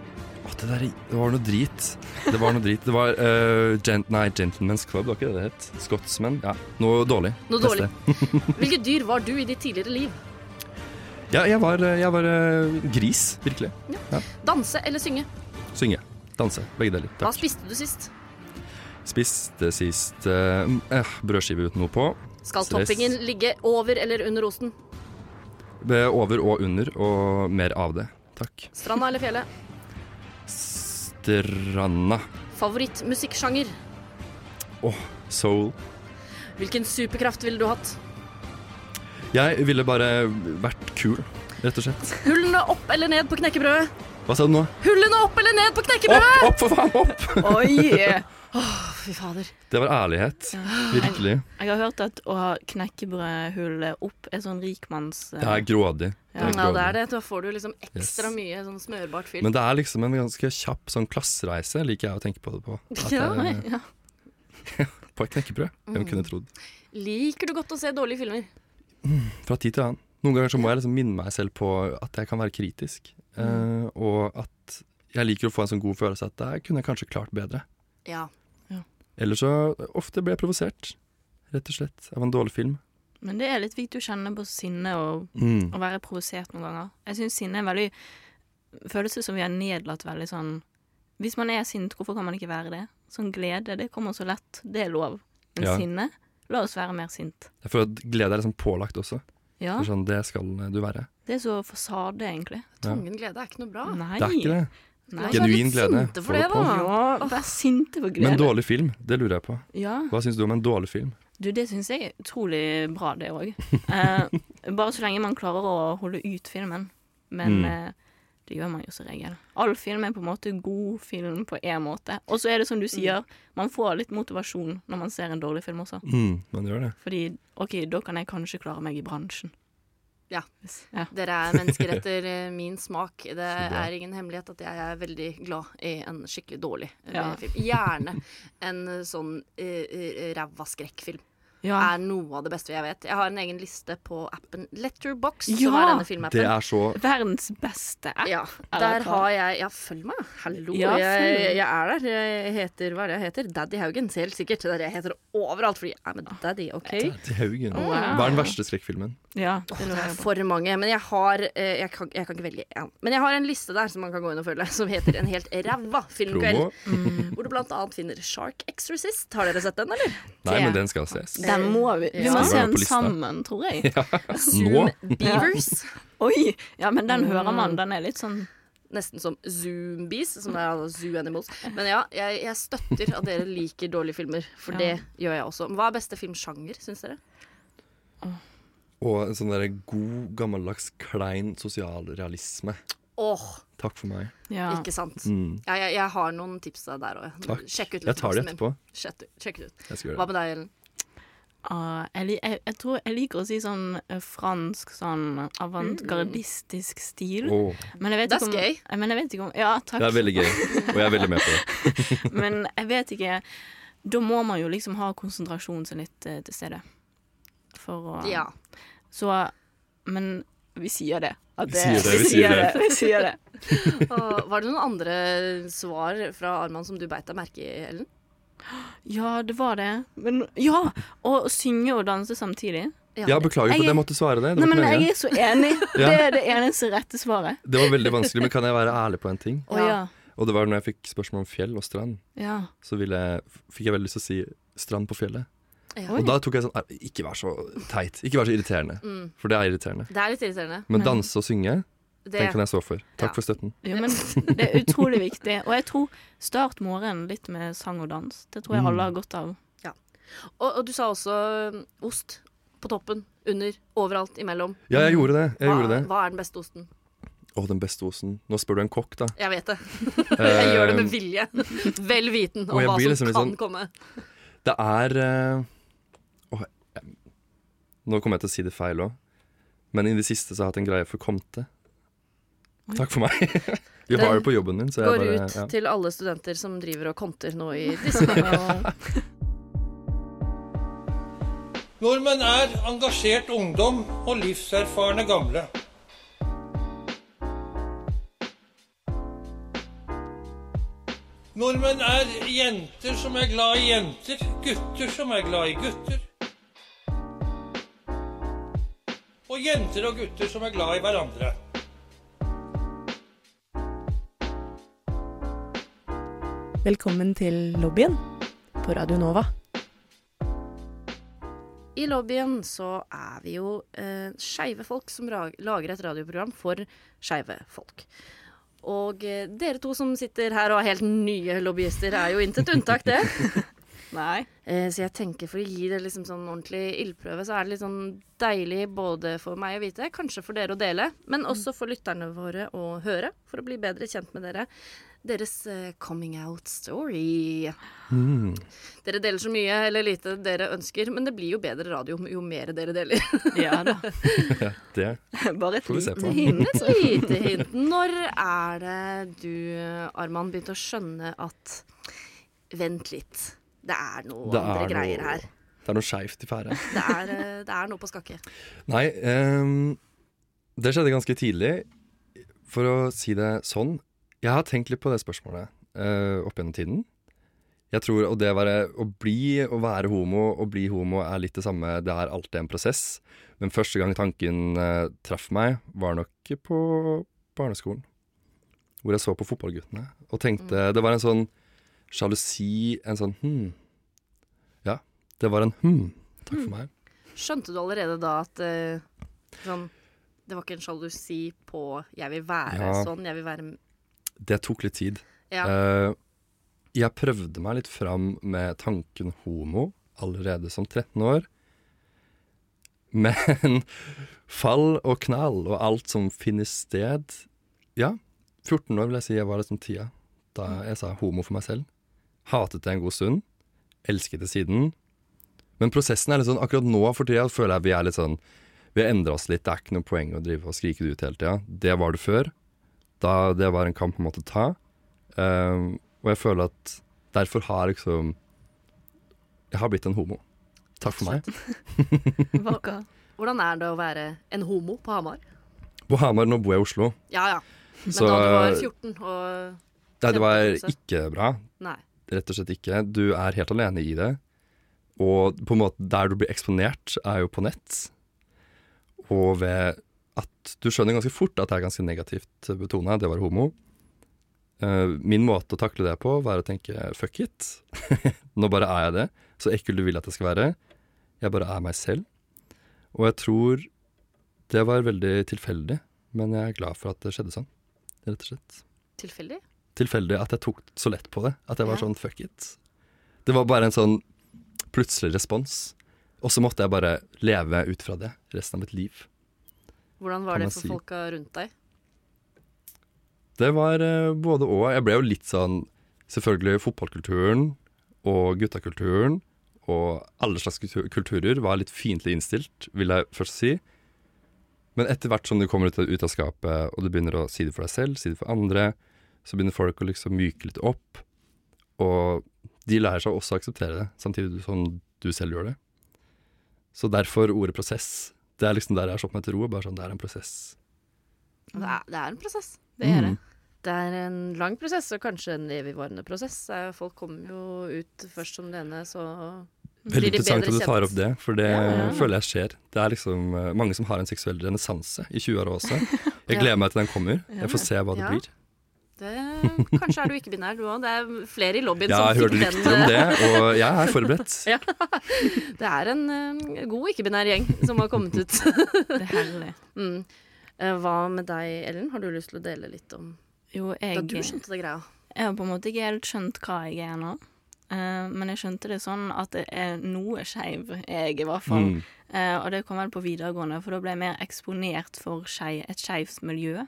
Speaker 4: Å, det der Det var noe drit. Det var noe drit. Det var eh, gen, Nei, Gentlemen's Club, det var ikke det det het. Scotsman. Ja, noe dårlig.
Speaker 2: Noe
Speaker 4: Neste.
Speaker 2: dårlig. Hvilket dyr var du i ditt tidligere liv?
Speaker 4: Ja, jeg var, jeg var eh, gris, virkelig.
Speaker 2: Danse eller synge?
Speaker 4: Synge. Danse. Begge deler.
Speaker 2: Hva
Speaker 4: Takk.
Speaker 2: spiste du sist?
Speaker 4: Spiste sist eh, eh, brødskive uten noe på.
Speaker 2: Skal
Speaker 4: Stress.
Speaker 2: toppingen ligge over eller under osten?
Speaker 4: Be- Over og under, og mer av det. Takk.
Speaker 2: Stranda eller fjellet?
Speaker 4: Stranda.
Speaker 2: Favorittmusikksjanger?
Speaker 4: Soul.
Speaker 2: Hvilken superkraft ville du hatt?
Speaker 4: Jeg ville bare vært kul, rett og slett.
Speaker 2: Hullene opp eller ned på knekkebrødet?
Speaker 4: Hva sa du nå?
Speaker 2: Hullene opp eller ned på
Speaker 4: Opp,
Speaker 2: knekkebrødet!
Speaker 4: opp, for faen, opp!
Speaker 3: Oi!
Speaker 2: Fy fader.
Speaker 4: Det var ærlighet. Virkelig.
Speaker 3: Jeg har hørt at å ha knekkebrødhullet opp er sånn rikmanns...
Speaker 4: Det er grådig. Det
Speaker 2: Ja,
Speaker 4: er
Speaker 2: det er
Speaker 4: grådig.
Speaker 2: det. Da får du liksom ekstra
Speaker 4: Yes.
Speaker 2: mye sånn smørbart fyll.
Speaker 4: Men det er liksom en ganske kjapp sånn klassereise, liker jeg å tenke på det på.
Speaker 2: <laughs>
Speaker 4: At
Speaker 2: Ja, Mm.
Speaker 4: det er
Speaker 3: ja.
Speaker 4: <laughs> på et knekkebrød. Hvem kunne trodd.
Speaker 2: Liker du godt å se dårlige filmer?
Speaker 4: Fra tid til annen. Noen ganger så må jeg liksom minne meg selv på at jeg kan være kritisk. eh,
Speaker 2: Mm.
Speaker 4: og at jeg liker å få en sånn god følelse at det her kunne jeg kanskje klart bedre.
Speaker 2: Ja.
Speaker 4: Eller så ofte blir jeg provosert, rett og slett, av en dårlig film.
Speaker 3: Men det er litt viktig å kjenne på sinne og
Speaker 4: Mm.
Speaker 3: å være provosert noen ganger. Jeg syns sinne er en veldig følelse som vi har nedlatt veldig sånn Hvis man er sint, hvorfor kan man ikke være det? Sånn glede, det kommer så lett. Det er lov. Men
Speaker 4: Ja.
Speaker 3: sinne La oss være mer sint.
Speaker 4: Jeg føler at glede er liksom pålagt også.
Speaker 3: Ja.
Speaker 4: Det er Sånn, det skal du være.
Speaker 3: Det er så fasade, egentlig.
Speaker 2: Tungen glede er ikke noe bra.
Speaker 3: Nei.
Speaker 4: Det er ikke det.
Speaker 3: Nei.
Speaker 2: Hvorfor er vi
Speaker 4: Genuin glede.
Speaker 2: sinte For
Speaker 4: Få
Speaker 2: det,
Speaker 4: det på.
Speaker 2: da.
Speaker 3: Ja, vær sinte for glede.
Speaker 4: Men dårlig film, det lurer jeg på.
Speaker 3: Ja.
Speaker 4: Hva syns du om en dårlig film?
Speaker 3: Du, det syns jeg er utrolig bra, det òg.
Speaker 4: <laughs>
Speaker 3: Eh, bare så lenge man klarer å holde ut filmen. Men
Speaker 4: Mm.
Speaker 3: eh, det gjør man jo som regel. All film er på en måte god film på én måte. Og så er det som
Speaker 4: Mm.
Speaker 3: du sier, man får litt motivasjon når man ser en dårlig film også.
Speaker 4: Mm, man gjør det.
Speaker 3: Fordi OK, da kan jeg kanskje klare meg i bransjen.
Speaker 2: Ja.
Speaker 3: Hvis- ja.
Speaker 2: Dere er mennesker etter eh, min smak. Det
Speaker 4: bra.
Speaker 2: er ingen hemmelighet at jeg er veldig glad i en skikkelig dårlig eh,
Speaker 3: Ja.
Speaker 2: film. Gjerne en eh, sånn uh, ræva skrekkfilm.
Speaker 3: Ja.
Speaker 2: Er noe av det beste jeg vet. Jeg har en egen liste på appen Letterbox,
Speaker 3: Ja!
Speaker 2: som er denne
Speaker 4: Det
Speaker 2: filmappen.
Speaker 4: er så
Speaker 3: Verdens beste app.
Speaker 2: Ja,
Speaker 3: Er
Speaker 2: der
Speaker 3: det bra?
Speaker 2: har jeg Ja, følg meg, hallo.
Speaker 3: Ja,
Speaker 2: jeg,
Speaker 3: følg.
Speaker 2: jeg er der. Jeg heter Hva er det jeg heter? Daddy Haugen, helt sikkert. Det er det jeg heter overalt, fordi I'm a
Speaker 3: Ah,
Speaker 2: daddy, OK?
Speaker 4: Til Haugen.
Speaker 3: Wow.
Speaker 4: Hva er den verste skrekkfilmen?
Speaker 3: Ja, det
Speaker 2: Det
Speaker 3: lurer
Speaker 2: er
Speaker 3: jeg på.
Speaker 2: for mange, men jeg har eh, jeg kan, jeg kan ikke velge én. Men jeg har en liste der som man kan gå inn og følge, som heter En helt ræva filmkveld.
Speaker 4: Promo?
Speaker 2: Hvor du blant annet finner Shark Exorcist. Har dere sett den, eller?
Speaker 4: Nei, men den skal ses.
Speaker 3: Den må vi Vi
Speaker 2: Altså, Ja.
Speaker 4: Den
Speaker 3: må se
Speaker 4: var jo på
Speaker 3: den
Speaker 4: lista.
Speaker 3: sammen, tror jeg.
Speaker 4: Nå?
Speaker 2: Beavers.
Speaker 3: Oi! Ja, men den hører
Speaker 2: Mm.
Speaker 3: man. Den er litt sånn
Speaker 2: Nesten som zombies, som er altså zoo animals. Men ja, jeg, jeg støtter at dere liker dårlige filmer, for
Speaker 3: Ja.
Speaker 2: det gjør jeg også. Men Hva er beste filmsjanger, syns dere?
Speaker 4: Og en sånn der god, gammeldags, klein sosialrealisme.
Speaker 2: Åh,
Speaker 4: Takk for meg.
Speaker 3: ja.
Speaker 2: ikke sant?
Speaker 4: Mm.
Speaker 2: Ja, jeg, jeg har noen tips der òg.
Speaker 4: Takk.
Speaker 2: Sjekk ut
Speaker 4: Jeg tar det
Speaker 2: listen min.
Speaker 4: etterpå.
Speaker 2: Sjekk, sjekk det ut.
Speaker 4: Jeg skal
Speaker 2: Hva
Speaker 4: gjøre det.
Speaker 2: med deg, Ellen?
Speaker 3: Ah, jeg, li- jeg, jeg tror jeg liker å si sånn eh, fransk, sånn
Speaker 4: Mm.
Speaker 3: avantgardistisk stil.
Speaker 4: Åh,
Speaker 3: Men jeg vet
Speaker 2: That's
Speaker 3: ikke om
Speaker 2: gay.
Speaker 3: eh, Men jeg vet ikke om Ja, takk.
Speaker 4: Oh. det er veldig gøy, og jeg er veldig med på
Speaker 3: <laughs>
Speaker 4: det.
Speaker 3: men jeg vet ikke Da må man jo liksom ha konsentrasjonen sin litt eh, til stede. For å
Speaker 2: Ja.
Speaker 3: Så Men vi sier det. At
Speaker 4: Vi sier det, vi sier det.
Speaker 3: <laughs> Vi sier det.
Speaker 2: Og var det noen andre svar fra Arman som du beit deg merke i, Ellen?
Speaker 3: Ja, det var det. Men ja! Og synge og danse samtidig.
Speaker 4: Ja, beklager for
Speaker 3: Jeg-
Speaker 4: at jeg måtte svare det. Det
Speaker 3: Nei,
Speaker 4: var,
Speaker 3: men
Speaker 4: ikke
Speaker 3: jeg
Speaker 4: meningen.
Speaker 3: er så enig.
Speaker 4: <laughs> Ja.
Speaker 3: Det er det eneste rette svaret.
Speaker 4: det var veldig vanskelig, men kan jeg være ærlig på en ting?
Speaker 3: Å ja.
Speaker 4: Og det var når jeg fikk spørsmål om fjell og strand,
Speaker 3: Ja.
Speaker 4: så ville jeg, fikk jeg veldig lyst til å si strand på fjellet.
Speaker 2: Ja.
Speaker 4: Og da tok jeg sånn "Nei, Ikke vær så teit. Ikke vær så irriterende.
Speaker 2: Mm.
Speaker 4: For det er irriterende.
Speaker 2: Det er litt irriterende.
Speaker 4: Men danse og synge,
Speaker 2: Det,
Speaker 4: den kan jeg stå for.
Speaker 2: Ja.
Speaker 4: Takk for støtten.
Speaker 3: Jo, men det er utrolig viktig. Og jeg tror start morgenen litt med sang og dans. Det tror jeg
Speaker 4: Mm.
Speaker 3: alle har godt av.
Speaker 2: og, og du sa også mm, ost. På toppen, under, overalt, imellom.
Speaker 4: Ja, jeg gjorde det. Jeg
Speaker 2: Hva,
Speaker 4: gjorde det.
Speaker 2: hva er den beste osten?
Speaker 4: Å, den beste osen. Nå spør du en kokk, da.
Speaker 2: Jeg vet det. <laughs> Jeg gjør det med
Speaker 4: Eh,
Speaker 2: vilje. <laughs> Vel viten om
Speaker 4: og jeg
Speaker 2: hva
Speaker 4: blir
Speaker 2: som
Speaker 4: liksom litt
Speaker 2: kan
Speaker 4: sånn-
Speaker 2: komme.
Speaker 4: Det er eh, åh, jeg- Nå kommer jeg til å si det feil òg, men i det siste så har jeg hatt en greie for Comte. Takk for meg. <laughs> Vi har jo på jobben din, så jeg
Speaker 2: Går
Speaker 4: bare
Speaker 2: ut
Speaker 4: ja.
Speaker 2: til alle studenter som driver og konter nå i disse
Speaker 6: Nordmenn er engasjert ungdom og livserfarne gamle. Nordmenn er jenter som er glad i jenter, gutter som er glad i gutter. Og jenter og gutter som er glad i hverandre.
Speaker 8: Velkommen til lobbyen på Radio Nova.
Speaker 2: I lobbyen så er vi jo eh, skeive folk som ra- lager et radioprogram for skeive folk. Og eh, dere to som sitter her og er helt nye lobbyister, er jo intet unntak, det.
Speaker 3: Nei.
Speaker 2: Eh, så jeg tenker for å gi det liksom sånn ordentlig ildprøve, så er det litt sånn deilig både for meg å vite, Mm. kanskje for dere å dele, men også for lytterne våre å høre, for å bli bedre kjent med dere. deres eh, coming out story.
Speaker 4: Mm.
Speaker 2: Dere deler så mye eller lite dere ønsker, men det blir jo bedre radio jo mer dere <laughs> deler.
Speaker 3: Ja da.
Speaker 4: Det
Speaker 3: Bare et
Speaker 4: får vi se
Speaker 2: Et
Speaker 4: på.
Speaker 2: hint, et lite hint. Når er det du, Arman, begynte å skjønne at Vent litt, det er noe
Speaker 4: Det
Speaker 2: andre
Speaker 4: er
Speaker 2: greier
Speaker 4: noe-
Speaker 2: her.
Speaker 4: Det er noe skeivt i ferde.
Speaker 2: Det er, eh, det er noe på skakke.
Speaker 4: Nei, ehm, det skjedde ganske tidlig. For å si det sånn, jeg har tenkt litt på det spørsmålet eh, opp gjennom tiden. Jeg tror å, det være, å bli å være homo og bli homo er litt det samme, det er alltid en prosess. Men første gang tanken eh, traff meg, var nok på barneskolen. Hvor jeg så på fotballguttene og tenkte Det var en sånn sjalusi, en sånn hm. Ja, det var en hm. Takk for meg.
Speaker 2: Skjønte du allerede da at eh, sånn Det var ikke en sjalusi på 'jeg vil være
Speaker 4: Ja.
Speaker 2: sånn', 'jeg vil være m-
Speaker 4: Det tok litt tid.
Speaker 2: Ja.
Speaker 4: Eh, jeg prøvde meg litt fram med tanken homo allerede som 13 år. Men <laughs> fall og knall og alt som finner sted Ja, 14 år vil jeg si jeg var liksom tida da jeg sa homo for meg selv. Hatet det en god stund. Elsket det siden. Men prosessen er litt sånn akkurat nå for tida føler jeg vi er litt sånn Vi har endra oss litt. Det er ikke noe poeng å drive og skrike det ut hele tida. Det var det før. Da det var en kamp man måtte ta. Um, og jeg føler at derfor har liksom Jeg har blitt en homo. Takk for meg.
Speaker 3: Vakker.
Speaker 2: Hvordan er det å være en homo på Hamar?
Speaker 4: På Hamar, nå bor jeg i Oslo.
Speaker 2: Ja ja. Men
Speaker 4: Så- eh,
Speaker 2: da du var 14 og
Speaker 4: Nei, det var
Speaker 2: Kjempefølelse.
Speaker 4: ikke bra.
Speaker 2: Nei.
Speaker 4: Rett og slett ikke. Du er helt alene i det. Og på en måte der du blir eksponert, er jo på nett. Og ved at du skjønner ganske fort at det er ganske negativt betona, det var homo. Eh, Min måte å takle det på var å tenke fuck it. <laughs> Nå bare er jeg det. Så ekkel du vil at jeg skal være. Jeg bare er meg selv. Og jeg tror det var veldig tilfeldig, men jeg er glad for at det skjedde sånn, rett og slett
Speaker 2: Tilfeldig?
Speaker 4: tilfeldig at jeg tok så lett på det. At jeg var
Speaker 2: Ja.
Speaker 4: sånn fuck it. Det var bare en sånn plutselig respons. Og så måtte jeg bare leve ut fra det resten av mitt liv.
Speaker 2: Hvordan
Speaker 4: Kan
Speaker 2: var det
Speaker 4: man
Speaker 2: for
Speaker 4: si.
Speaker 2: folka rundt deg?
Speaker 4: Det var eh, både og. Jeg ble jo litt sånn Selvfølgelig fotballkulturen og guttakulturen og alle slags kultu- kulturer var litt fiendtlig innstilt, vil jeg først si. Men etter hvert som du kommer ut av, ut av skapet, og du begynner å si det for deg selv, si det for andre, så begynner folk å liksom myke litt opp. Og de lærer seg også å akseptere det, samtidig som du selv gjør det. Så derfor ordet prosess. Det er liksom der jeg har slått meg til ro. bare sånn, Det er en prosess.
Speaker 2: Det er, det er en prosess.
Speaker 3: Det er det.
Speaker 4: Mm.
Speaker 2: Det er en lang prosess, og kanskje en evigvarende prosess. Det er- Folk kommer jo ut først som det ene, så
Speaker 4: Veldig interessant at du tar opp det, for det
Speaker 2: Ja, ja.
Speaker 4: føler jeg skjer. Det er liksom eh, mange som har en seksuell renessanse i
Speaker 2: <laughs>
Speaker 4: 20-åra også. Jeg
Speaker 2: Ja.
Speaker 4: gleder meg til den kommer. Jeg får se hva det
Speaker 2: Ja.
Speaker 4: blir.
Speaker 2: Det, kanskje er du ikke-binær, du òg. Det er flere i lobbyen
Speaker 4: Ja,
Speaker 2: som
Speaker 4: jeg
Speaker 2: fikk
Speaker 4: hørte
Speaker 2: den.
Speaker 4: rykter om det, og jeg er forberedt.
Speaker 2: sånn <laughs> Ja. Det er en eh, god ikke-binær gjeng som har kommet ut.
Speaker 3: Det er herlig.
Speaker 2: mm. Eh, Hva med deg, Ellen? Har du lyst til å dele litt om
Speaker 3: Jo,
Speaker 2: da
Speaker 3: jeg,
Speaker 2: du skjønte det greia?
Speaker 3: jeg har på en måte ikke helt skjønt hva jeg er nå. Eh, men jeg skjønte det sånn at det er noe skeiv, jeg i hvert fall.
Speaker 4: Mm.
Speaker 3: Eh, og det kom vel på videregående, for da ble jeg mer eksponert for skei- et skeivt miljø.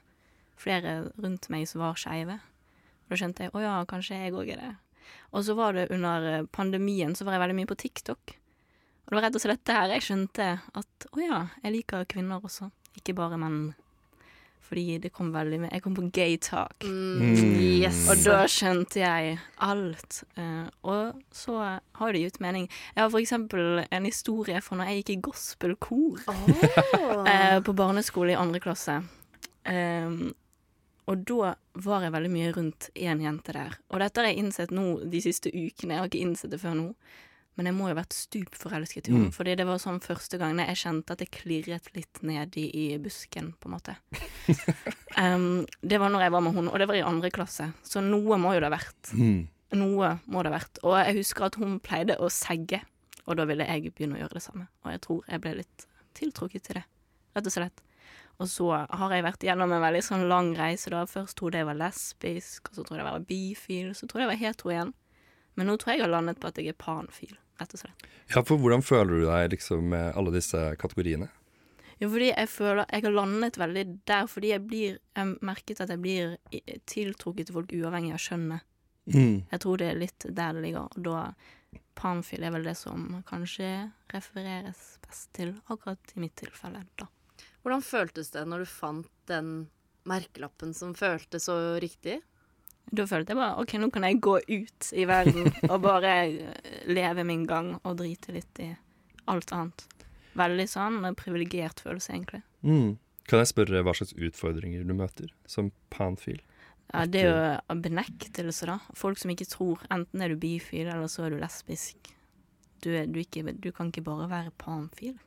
Speaker 3: Flere rundt meg som var skeive. Og da skjønte jeg å ja, kanskje jeg òg er det. Og så var det under eh, pandemien, så var jeg veldig mye på TikTok. Og det var rett og slett der jeg skjønte at å ja, jeg liker kvinner også, ikke bare menn. Fordi det kom veldig med Jeg kom på gay talk.
Speaker 4: Mm.
Speaker 2: Yes.
Speaker 3: Og
Speaker 2: <laughs>
Speaker 3: da skjønte jeg alt. eh, og så har det gitt mening. Jeg har for eksempel en historie fra når jeg gikk i gospelkor eh, på barneskole i andre klasse. Ehm, og da var jeg veldig mye rundt én jente der. Og dette har jeg innsett nå de siste ukene, jeg har ikke innsett det før nå. Men jeg må jo ha vært stupforelsket i henne.
Speaker 4: Mm.
Speaker 3: Fordi det var sånn første gangen jeg kjente at jeg klirret litt nedi i busken, på en måte. Ehm, det var når jeg var med henne, og det var i andre klasse. Så noe må jo det ha vært.
Speaker 4: Mm.
Speaker 3: Noe må det ha vært. Og jeg husker at hun pleide å segge, og da ville jeg begynne å gjøre det samme. Og jeg tror jeg ble litt tiltrukket til det, rett og slett. Og så har jeg vært gjennom en veldig sånn lang reise da. Først trodde jeg var lesbisk, og så trodde jeg var bifil, så trodde jeg var hetero igjen. Men nå tror jeg jeg har landet på at jeg er panfil, rett og slett.
Speaker 4: Ja, for hvordan føler du deg liksom med alle disse kategoriene?
Speaker 3: Jo, fordi jeg føler Jeg har landet veldig der fordi jeg blir Jeg merket at jeg blir i- tiltrukket til folk uavhengig av kjønnet.
Speaker 4: Mm.
Speaker 3: Jeg tror det er litt der det ligger, og da Panfil er vel det som kanskje refereres best til akkurat i mitt tilfelle, da.
Speaker 2: Hvordan føltes det når du fant den merkelappen som føltes så riktig?
Speaker 3: Da følte jeg bare OK, nå kan jeg gå ut i verden og bare eh, leve min gang og drite litt i alt annet. Veldig sånn eh, privilegert følelse, egentlig.
Speaker 4: Mm. Kan jeg spørre hva slags utfordringer du møter som panfil?
Speaker 3: Ja, det er jo benektelse, da. Folk som ikke tror. Enten er du bifil, eller så er du lesbisk. Du, er, du, ikke, du kan ikke bare være panfil.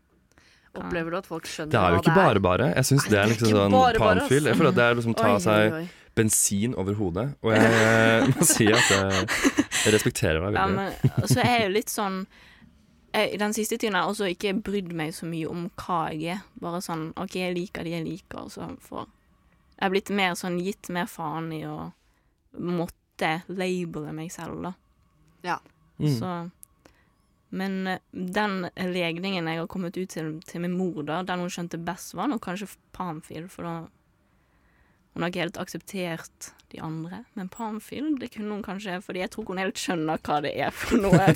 Speaker 2: Opplever du at folk skjønner
Speaker 4: Det er
Speaker 2: hva
Speaker 4: jo ikke bare bare. Jeg syns det er
Speaker 2: det er
Speaker 4: liksom
Speaker 2: ikke
Speaker 4: sånn
Speaker 2: bare bare,
Speaker 4: panfil. Jeg føler at det er liksom ta
Speaker 2: Oi,
Speaker 4: seg
Speaker 2: oi, oi.
Speaker 4: bensin over hodet. Og
Speaker 2: <laughs>
Speaker 4: jeg må si at jeg, jeg respekterer deg
Speaker 3: Ja,
Speaker 4: veldig.
Speaker 3: men, så er jeg jo litt sånn jeg, Den siste tiden har jeg også ikke brydd meg så mye om hva jeg er. Bare sånn OK, jeg liker det jeg liker, og så får Jeg har blitt mer sånn gitt mer faen i å måtte labele meg selv, da.
Speaker 2: Ja.
Speaker 4: Mm.
Speaker 3: Så Men eh, den legningen jeg har kommet ut til, til min mor, da, den hun skjønte best, var nok kanskje panfil, for da hun har ikke helt akseptert de andre, men panfil det kunne hun kanskje, fordi jeg tror ikke hun helt skjønner hva det er for noe.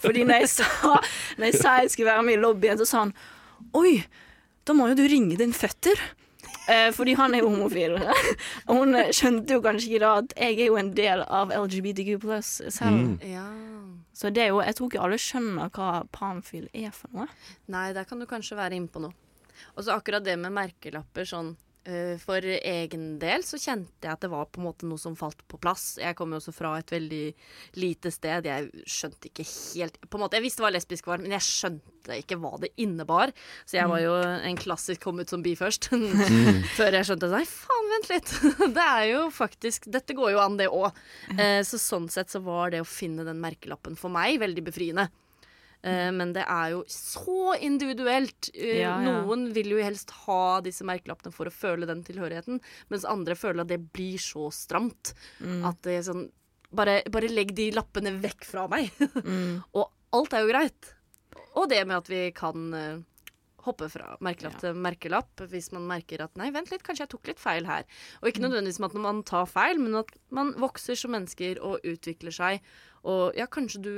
Speaker 3: Fordi når jeg sa, når jeg, sa jeg skulle være med i lobbyen, så sa han Oi, da må jo du ringe din føtter. Eh, fordi han er jo homofil. Og hun eh, skjønte jo kanskje ikke da at jeg er jo en del av LGBTQ selv.
Speaker 4: Mm.
Speaker 2: Ja.
Speaker 3: Så det er jo, jeg tror ikke alle skjønner hva panfil er for noe.
Speaker 2: Nei, der kan du kanskje være inne på noe. Og så akkurat det med merkelapper sånn eh, For egen del så kjente jeg at det var på en måte noe som falt på plass. Jeg kom jo også fra et veldig lite sted. Jeg skjønte ikke helt På en måte, Jeg visste hva lesbisk var, men jeg skjønte ikke hva det innebar. Så jeg var jo en klassisk kom ut som bi først. <laughs> Før jeg skjønte Nei, faen, vent litt. <laughs> Det er jo faktisk Dette går jo an, det òg. Eh, Så sånn sett så var det å finne den merkelappen for meg veldig befriende. Eh, Men det er jo så individuelt. Eh,
Speaker 3: Ja, ja.
Speaker 2: Noen vil jo helst ha disse merkelappene for å føle den tilhørigheten, mens andre føler at det blir så stramt.
Speaker 3: Mm.
Speaker 2: At det er sånn bare, bare legg de lappene vekk fra meg.
Speaker 3: Mm.
Speaker 2: <laughs> Og alt er jo greit. Og det med at vi kan eh, hoppe fra merkelapp til merkelapp hvis man merker at nei, vent litt, kanskje jeg tok litt feil her. Og ikke nødvendigvis med at man tar feil, men at man vokser som mennesker og utvikler seg. Og ja, kanskje du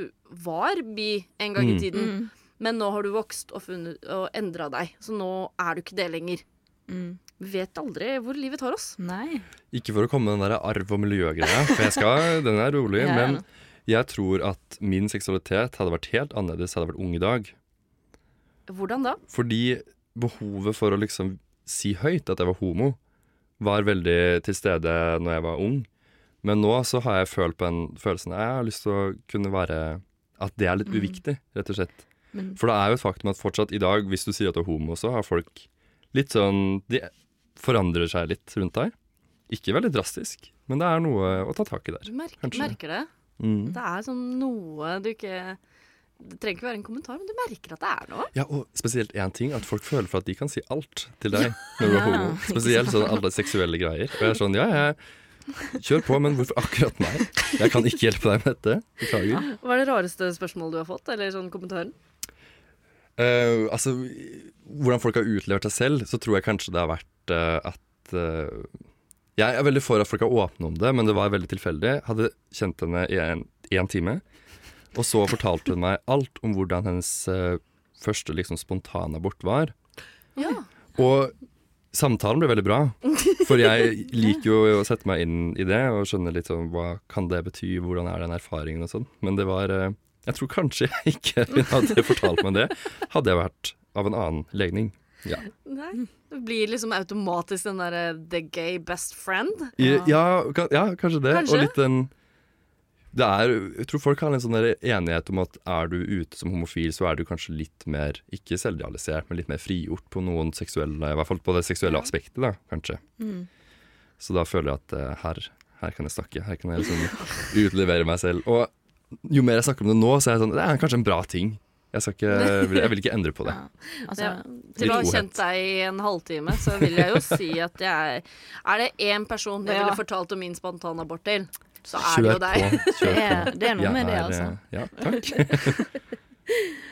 Speaker 2: var bi en gang i
Speaker 4: Mm.
Speaker 2: tiden, men nå har du vokst og, funnet- og endra deg, så nå er du ikke det lenger. Vi vet aldri hvor livet tar oss.
Speaker 3: Nei.
Speaker 4: Ikke for å komme med den der arv- og miljøgreia, for jeg skal, den er rolig.
Speaker 3: <laughs> Ja, ja.
Speaker 4: Men jeg tror at min seksualitet hadde vært helt annerledes hadde jeg vært ung i dag.
Speaker 2: Hvordan da?
Speaker 4: Fordi behovet for å liksom si høyt at jeg var homo, var veldig til stede når jeg var ung. Men nå så har jeg følt på den følelsen jeg har lyst til å kunne være At det er litt uviktig, rett og slett.
Speaker 3: Men-
Speaker 4: For det er jo et faktum at fortsatt i dag, hvis du sier at du er homo, så har folk litt sånn De forandrer seg litt rundt deg. Ikke veldig drastisk, men det er noe å ta tak i der.
Speaker 2: Du merker,
Speaker 4: Kanskje.
Speaker 2: merker det.
Speaker 4: Mm.
Speaker 2: Det er sånn noe du ikke Det trenger ikke være en kommentar, men du merker at det er noe.
Speaker 4: Ja, og spesielt én ting, at folk føler for at de kan si alt til deg når du er homo. Spesielt sånn alle seksuelle greier. Og jeg er sånn, ja, ja, kjør på, men hvorfor akkurat meg? Jeg kan ikke hjelpe deg med dette. Beklager.
Speaker 2: Hva er det rareste spørsmålet du har fått? Eller sånn kommentaren?
Speaker 4: Eh, altså, hvordan folk har utlevert seg selv, så tror jeg kanskje det har vært eh, at eh, Jeg er veldig for at folk er åpne om det, men det var veldig tilfeldig. Hadde kjent henne i en, i en time, og så fortalte hun meg alt om hvordan hennes eh, første liksom, spontanabort var.
Speaker 2: Ja.
Speaker 4: Og samtalen ble veldig bra, for jeg liker jo å sette meg inn i det og skjønne litt om hva kan det bety, hvordan er den erfaringen og sånn. Men det var eh, Jeg tror kanskje jeg ikke <laughs> hadde fortalt meg det, hadde jeg vært av en annen legning. Ja,
Speaker 2: Nei. Det blir liksom automatisk den derre the gay best friend.
Speaker 4: I, ja, ka- ja kanskje det.
Speaker 2: Kanskje.
Speaker 4: Og litt den det er, Jeg tror folk har en sånn der enighet om at er du ute som homofil, så er du kanskje litt mer, ikke selvrealisert, men litt mer frigjort på noen seksuelle I hvert fall på det seksuelle aspektet, da, kanskje.
Speaker 2: Mm.
Speaker 4: Så da føler jeg at eh, her, her kan jeg snakke. Her kan jeg liksom utlevere meg selv. Og jo mer jeg snakker om det nå, så er jeg sånn Det er kanskje en bra ting. Jeg, skal ikke, jeg vil ikke endre på det.
Speaker 3: Altså,
Speaker 2: Ja. Til å ha
Speaker 4: godhet.
Speaker 2: kjent deg i en halvtime, så vil jeg jo si at jeg er Er det én person jeg
Speaker 3: Ja.
Speaker 2: ville fortalt om min spontanabort til, så er det jo deg.
Speaker 4: på. eh,
Speaker 2: altså.
Speaker 4: Kjør på.
Speaker 3: det, altså. er, det er noe
Speaker 4: Jeg
Speaker 3: med det,
Speaker 4: er,
Speaker 3: altså.
Speaker 4: eh, Ja, takk.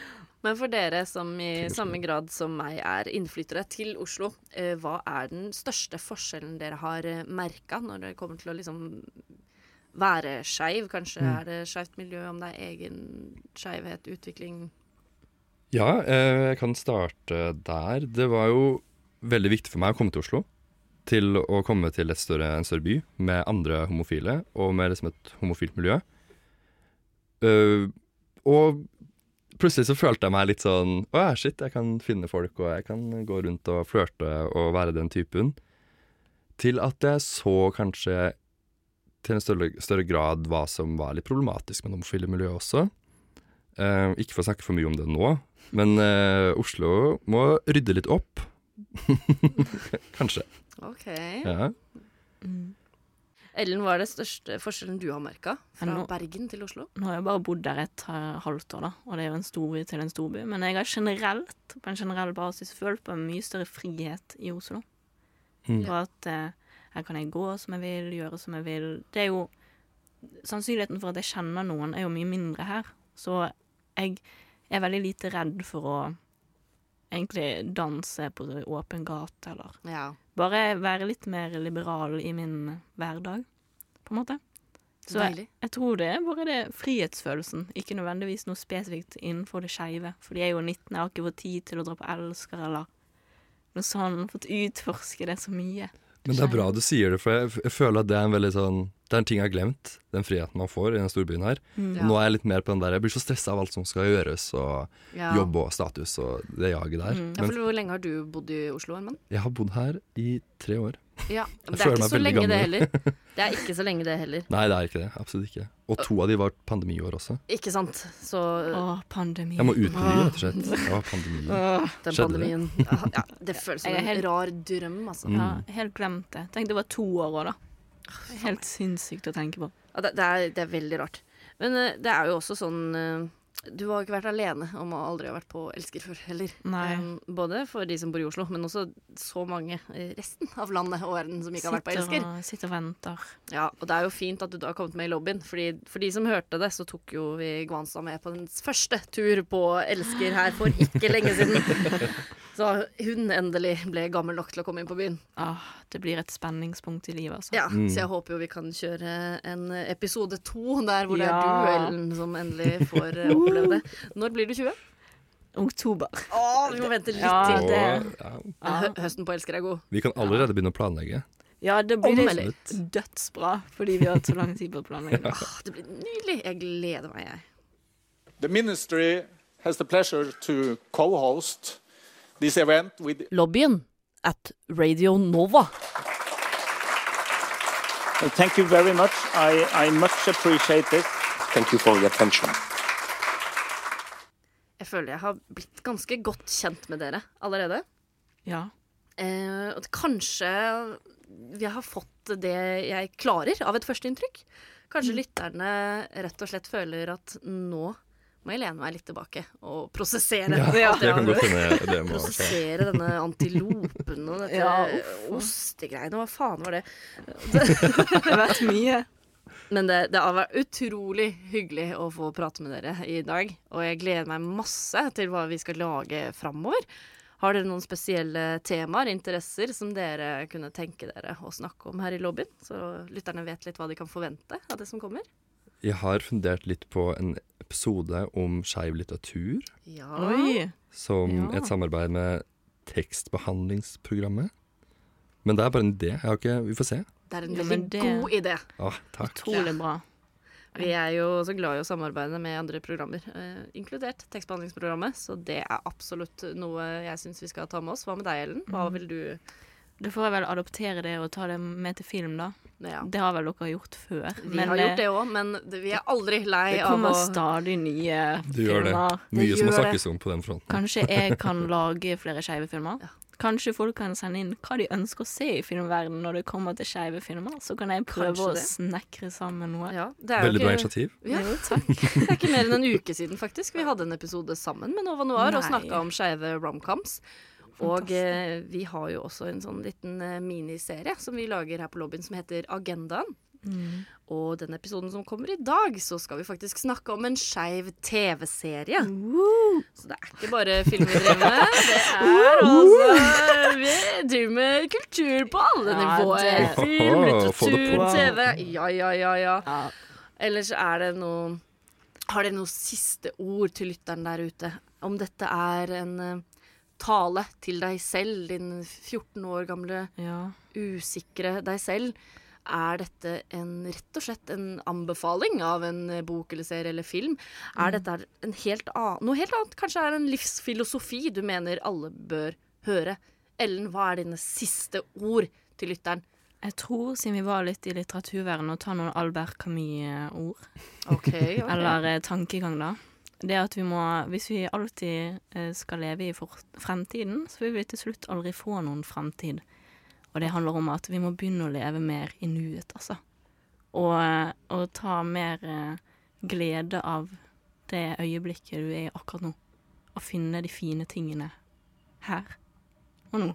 Speaker 2: <laughs> Men for dere som i samme grad som meg er innflyttere til Oslo, eh, hva er den største forskjellen dere har merka når det kommer til å liksom være skeiv? Kanskje er det skeivt miljø, om det er egen skeivhet, utvikling
Speaker 4: Ja, eh, jeg kan starte der. Det var jo veldig viktig for meg å komme til Oslo. Til å komme til et større, en større by med andre homofile, og med liksom et homofilt miljø. Eh, og plutselig så følte jeg meg litt sånn Å ja, shit, jeg kan finne folk, og jeg kan gå rundt og flørte og være den typen. Til at jeg så kanskje til en større, større grad hva som var litt problematisk med det homofile miljøet også. Eh, ikke for å snakke for mye om det nå, men eh, Oslo må rydde litt opp. <laughs> Kanskje.
Speaker 2: OK.
Speaker 4: Ja.
Speaker 2: Ellen, hva er det største forskjellen du har merka
Speaker 3: Men
Speaker 2: fra
Speaker 3: nå-
Speaker 2: Bergen til Oslo?
Speaker 3: Nå har jeg bare bodd der et eh, halvt år, da, og det er jo en storby til en storby. Men jeg har generelt, på en generell basis, følt på en mye større frihet i Oslo.
Speaker 4: Mm.
Speaker 3: Og at eh, her kan jeg gå som jeg vil, gjøre som jeg vil. Det er jo Sannsynligheten for at jeg kjenner noen, er jo mye mindre her. Så jeg er veldig lite redd for å egentlig danse på åpen gate, eller
Speaker 2: Ja.
Speaker 3: Bare være litt mer liberal i min hverdag, på en måte. Så jeg,
Speaker 2: Deilig.
Speaker 3: jeg tror det er bare det frihetsfølelsen, ikke nødvendigvis noe spesifikt innenfor det skeive. Fordi jeg er jo 19, jeg har ikke fått tid til å dra på Elsker eller noe sånn. Fått utforske det så mye.
Speaker 4: Men det er bra du sier det, for jeg, f- jeg føler at det er en veldig sånn Det er en ting jeg har glemt, den friheten man får i den storbyen her.
Speaker 2: Mm.
Speaker 4: Og Nå er jeg litt mer på den der Jeg blir så stressa av alt som skal gjøres, og
Speaker 2: Ja. Mm.
Speaker 4: jobb og status og det jaget der.
Speaker 2: Ja, for
Speaker 4: Men
Speaker 2: hvor lenge har du bodd i Oslo, Herman?
Speaker 4: jeg har bodd her i tre år.
Speaker 2: Ja, men det er
Speaker 4: føler
Speaker 2: ikke
Speaker 4: meg
Speaker 2: så
Speaker 4: veldig
Speaker 2: lenge det
Speaker 4: gammel.
Speaker 2: heller. Det er ikke så lenge det heller.
Speaker 4: Nei, det er ikke det. Absolutt ikke. Og to av de var pandemiår også.
Speaker 2: <laughs> Ikke sant? Så
Speaker 3: Å, pandemi.
Speaker 4: Jeg må uten ny, rett og slett. Det var pandemi.
Speaker 2: den
Speaker 4: skjedde
Speaker 2: pandemien ja, ja, Det føles som
Speaker 3: Jeg er
Speaker 2: en
Speaker 3: helt-
Speaker 2: rar drøm,
Speaker 4: Mm.
Speaker 2: altså.
Speaker 3: Ja, helt glemt det. Tenk, det var to år òg, da. Helt sinnssykt å tenke på.
Speaker 2: Ja, det, det, er, det er veldig rart. Men eh, det er jo også sånn eh, Du har ikke vært alene om å aldri ha vært på Elsker før heller.
Speaker 3: Nei.
Speaker 2: Eh, både for de som bor i Oslo, men også så mange i resten av landet og verden som ikke har vært på Elsker.
Speaker 3: og, sitter og venter.
Speaker 2: Ja, og det er jo fint at du da har kommet med i lobbyen, fordi for de som hørte det, så tok jo vi Gwanza med på den første tur på Elsker her for ikke lenge siden. Så hun endelig ble gammel nok til å komme inn på byen.
Speaker 3: Åh, det blir et spenningspunkt i livet, altså.
Speaker 2: Ja, Så jeg håper jo vi kan kjøre en episode to der hvor det
Speaker 3: Ja.
Speaker 2: er du, Ellen, som endelig får eh, oppleve det. Når blir du 20?
Speaker 3: Oktober.
Speaker 2: Å, vi må vente litt
Speaker 3: Ja,
Speaker 2: til.
Speaker 4: Og
Speaker 3: det-
Speaker 4: ja,
Speaker 2: Men hø- Høsten på Elsker er god.
Speaker 4: vi kan allerede begynne å planlegge.
Speaker 3: Ja, det
Speaker 2: Om
Speaker 3: blir
Speaker 2: eller
Speaker 3: litt dødsbra, fordi vi har hatt så lang tid på
Speaker 4: <laughs>
Speaker 3: planlegging.
Speaker 2: Åh, Det blir nydelig. Jeg gleder meg, jeg.
Speaker 9: The ministry has the pleasure to co-host this event with
Speaker 1: Lobbyen at Radio Nova.
Speaker 10: Thank you very much. I, I much appreciate it.
Speaker 11: Thank you for your attention.
Speaker 2: Jeg føler jeg har blitt ganske godt kjent med dere allerede.
Speaker 3: Ja.
Speaker 2: Eh, at kanskje jeg har fått det jeg klarer av et førsteinntrykk. Kanskje lytterne rett og slett føler at nå må jeg lene meg litt tilbake og prosessere.
Speaker 4: Ja,
Speaker 2: alt jeg
Speaker 4: jeg
Speaker 2: har
Speaker 4: kan godt
Speaker 2: hørt.
Speaker 4: skjønne det
Speaker 2: <laughs>
Speaker 4: med å
Speaker 2: Prosessere denne antilopen og dette
Speaker 3: <laughs> Ja, uff.
Speaker 2: ostegreiene. Hva faen var det?
Speaker 3: Det har vært mye.
Speaker 2: Men det, det har vært utrolig hyggelig å få prate med dere i dag. Og jeg gleder meg masse til hva vi skal lage framover. Har dere noen spesielle temaer, interesser, som dere kunne tenke dere å snakke om her i lobbyen? Så lytterne vet litt hva de kan forvente av det som kommer.
Speaker 4: Jeg har fundert litt på en episode om skeiv litteratur,
Speaker 2: Ja.
Speaker 3: Oi.
Speaker 4: som
Speaker 3: Ja.
Speaker 4: et samarbeid med tekstbehandlingsprogrammet. Men det er bare en idé. Jeg har ikke, vi får se.
Speaker 2: Det er en
Speaker 3: Ja,
Speaker 2: veldig
Speaker 3: men det-
Speaker 2: god idé.
Speaker 4: Ah, takk.
Speaker 3: Utrolig bra.
Speaker 2: Vi er jo så glad i å samarbeide med andre programmer, eh, inkludert tekstbehandlingsprogrammet, så det er absolutt noe jeg syns vi skal ta med oss. Hva med deg, Ellen?
Speaker 3: Mhm.
Speaker 2: Hva vil du
Speaker 3: Da får jeg vel adoptere det og ta det med til film, da.
Speaker 2: ja.
Speaker 3: Det har vel dere gjort før.
Speaker 2: Vi har gjort det òg, men det- vi er aldri lei
Speaker 3: eh, det
Speaker 2: av å
Speaker 3: kommer stadig nye
Speaker 4: Du gjør det.
Speaker 3: filmer.
Speaker 4: Mye som må
Speaker 2: gjør det.
Speaker 4: snakkes om på den fronten.
Speaker 3: Kanskje jeg kan
Speaker 4: <laughs>
Speaker 3: lage flere skeive filmer? Kanskje folk kan sende inn hva de ønsker å se i filmverdenen når det kommer til skeive filmer? Så kan jeg prøve
Speaker 2: Kanskje
Speaker 3: å
Speaker 2: det.
Speaker 3: snekre sammen noe.
Speaker 2: ja, det er jo
Speaker 4: Veldig bra
Speaker 2: ikke-
Speaker 4: initiativ.
Speaker 2: Ja, takk. Det er ikke mer enn en uke siden, faktisk. Vi hadde en episode sammen med Nova Noir og
Speaker 3: Nei.
Speaker 2: snakka om skeive romcoms. Og
Speaker 3: Fantastisk.
Speaker 2: eh, vi har
Speaker 3: Mm.
Speaker 2: jo også en sånn liten eh, miniserie som vi lager her på lobbyen som heter Agendaen. Og den episoden som kommer i dag, så skal vi faktisk snakke om en skeiv TV-serie. Så det er ikke bare film vi driver med. Det er altså Vi driver med kultur på alle nivåer.
Speaker 4: det-
Speaker 2: Film,
Speaker 4: Få det
Speaker 2: litteratur,
Speaker 4: på.
Speaker 2: TV. Ja, ja, ja, ja. Ellers er det noe Har dere noen siste ord til lytteren der ute? Om dette er en eh, tale til deg selv, din 14 år gamle
Speaker 3: Ja.
Speaker 2: usikre deg selv. Er dette en, rett og slett en anbefaling av en eh, bok eller serie eller film?
Speaker 3: Mm.
Speaker 2: Er dette her en helt annen, noe helt annet? Kanskje er det en livsfilosofi du mener alle bør høre? Ellen, hva er dine siste ord til lytteren?
Speaker 3: Jeg tror, siden vi var litt i litteraturverdenen, å ta noen Albert Camus-ord.
Speaker 2: OK.
Speaker 3: Eller eh, tankegang, da. Det at vi må Hvis vi alltid eh, skal leve i fort- fremtiden, så vil vi til slutt aldri få noen fremtid. Og det handler om at vi må begynne å leve mer i nuet, altså. Og, eh, og ta mer eh, glede av det øyeblikket du er i akkurat nå. Og finne de fine tingene her og nå.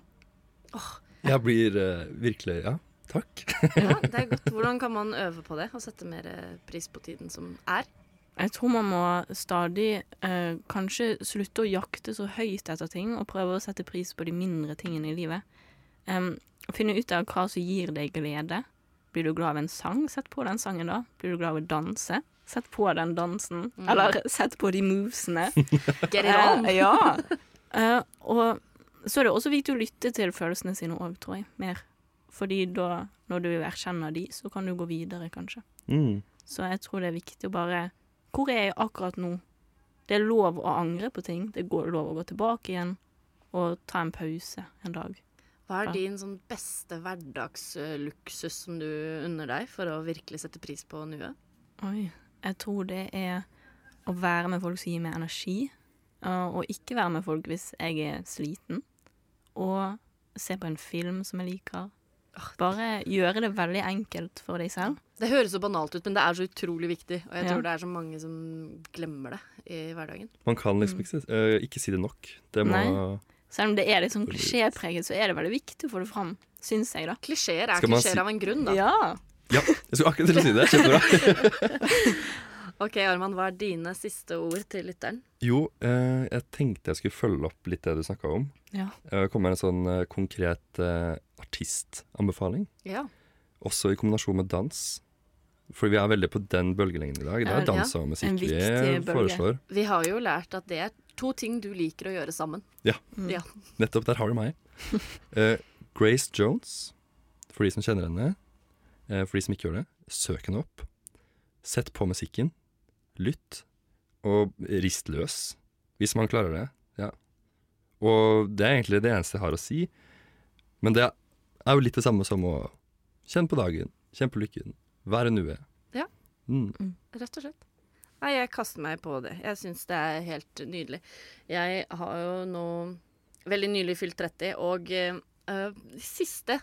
Speaker 4: Jeg blir eh, virkelig Ja, takk.
Speaker 2: Ja, det er godt. Hvordan kan man øve på det og sette mer eh, pris på tiden som er?
Speaker 3: Jeg tror man må stadig eh, kanskje slutte å jakte så høyt etter ting, og prøve å sette pris på de mindre tingene i livet. Em, finne ut av hva som gir deg glede. Blir du glad av en sang, sett på den sangen da. Blir du glad av å danse, sett på den dansen. Eller sett på de movesene.
Speaker 2: Get it on!
Speaker 3: Eh, ja. Eh, og så er det også viktig å lytte til følelsene sine òg, tror jeg. Mer. Fordi da, når du erkjenner de, så kan du gå videre, kanskje.
Speaker 4: Mm.
Speaker 3: Så jeg tror det er viktig å bare Hvor er jeg akkurat nå? Det er lov å angre på ting. Det er lov å gå tilbake igjen og ta en pause en dag.
Speaker 2: Hva er
Speaker 3: Ja.
Speaker 2: din sånn beste hverdagsluksus som du unner deg for å virkelig sette pris på nuet?
Speaker 3: Oi. Jeg tror det er å være med folk som gir meg energi, eh, og ikke være med folk hvis jeg er sliten. Og se på en film som jeg liker. Ah, Bare gjøre det veldig enkelt for deg selv.
Speaker 2: Det høres så banalt ut, men det er så utrolig viktig. Og jeg
Speaker 3: Ja.
Speaker 2: tror det er så mange som glemmer det i hverdagen.
Speaker 4: Man kan liksom ikke, si- eh, ikke si det nok. Det må
Speaker 3: Nei. Selv om det er litt sånn klisjépreget, så er det veldig viktig å få det fram, syns jeg, da.
Speaker 2: Klisjeer er
Speaker 4: Skal man
Speaker 2: klisjeer
Speaker 4: si-
Speaker 2: av en grunn, da.
Speaker 3: Ja.
Speaker 4: Ja, jeg skulle akkurat til å si det. Kjempebra.
Speaker 2: OK, Arman, hva er dine siste ord til lytteren?
Speaker 4: Jo, eh, jeg tenkte jeg skulle følge opp litt det du snakka om.
Speaker 3: Ja.
Speaker 4: Eh, Komme med en sånn eh, konkret eh, artistanbefaling.
Speaker 2: Ja.
Speaker 4: Også i kombinasjon med dans. For vi er veldig på den bølgelengden i dag. Det
Speaker 3: Ja,
Speaker 4: er dans og
Speaker 3: en
Speaker 4: musikk vi
Speaker 3: viktig bølge.
Speaker 4: foreslår.
Speaker 2: Vi har jo lært at det er to ting du liker å gjøre sammen.
Speaker 4: Ja.
Speaker 2: Ja.
Speaker 4: Nettopp, der har du meg. Eh, Grace Jones, for de som kjenner henne. eh, for de som ikke gjør det, søk henne opp. Sett på musikken. Lytt. Og rist løs, hvis man klarer det. Ja. Og det er egentlig det eneste jeg har å si. Men det er jo litt det samme som å kjenne på dagen, kjenne på lykken, være nuet.
Speaker 2: Ja.
Speaker 4: Mm.
Speaker 2: Rett og slett. Nei, jeg kaster meg på det. Jeg syns det er helt nydelig. Jeg har jo nå veldig nylig fylt 30, og eh, eh, de siste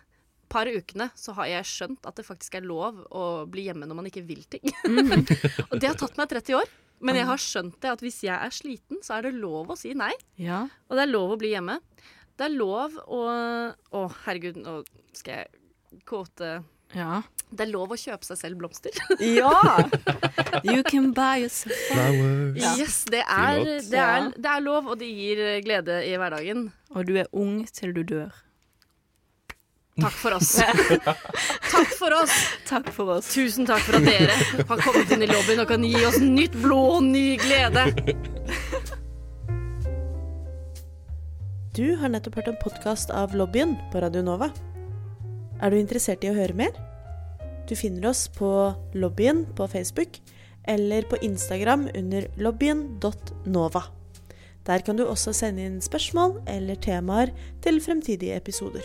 Speaker 2: par ukene så har jeg skjønt at det faktisk er lov å bli hjemme når man ikke vil ting. Mm. <laughs> og det har tatt meg 30 år. Men jeg har skjønt det at hvis jeg er sliten, så er det lov å si nei.
Speaker 3: Ja.
Speaker 2: Og det er lov å bli hjemme. Det er lov å Å, herregud, nå skal jeg kåte
Speaker 3: Ja.
Speaker 2: Det er lov å kjøpe seg selv blomster.
Speaker 3: Ja! You can buy yourself.
Speaker 4: Flowers.
Speaker 2: Yes, det er,
Speaker 4: Fin låt.
Speaker 2: det, er,
Speaker 3: Ja.
Speaker 2: det er lov, og det gir eh, glede i hverdagen.
Speaker 3: Og du er ung til du dør.
Speaker 2: Takk for oss. <laughs> takk for oss.
Speaker 3: Takk for oss.
Speaker 2: Tusen takk for at dere har kommet inn i lobbyen og kan gi oss nytt blod og ny glede.
Speaker 8: Du har nettopp hørt en podkast av Lobbyen på Radio Nova. Er du interessert i å høre mer? Du finner oss på Lobbyen på Facebook eller på Instagram under lobbyen.nova. Der kan du også sende inn spørsmål eller temaer til fremtidige episoder.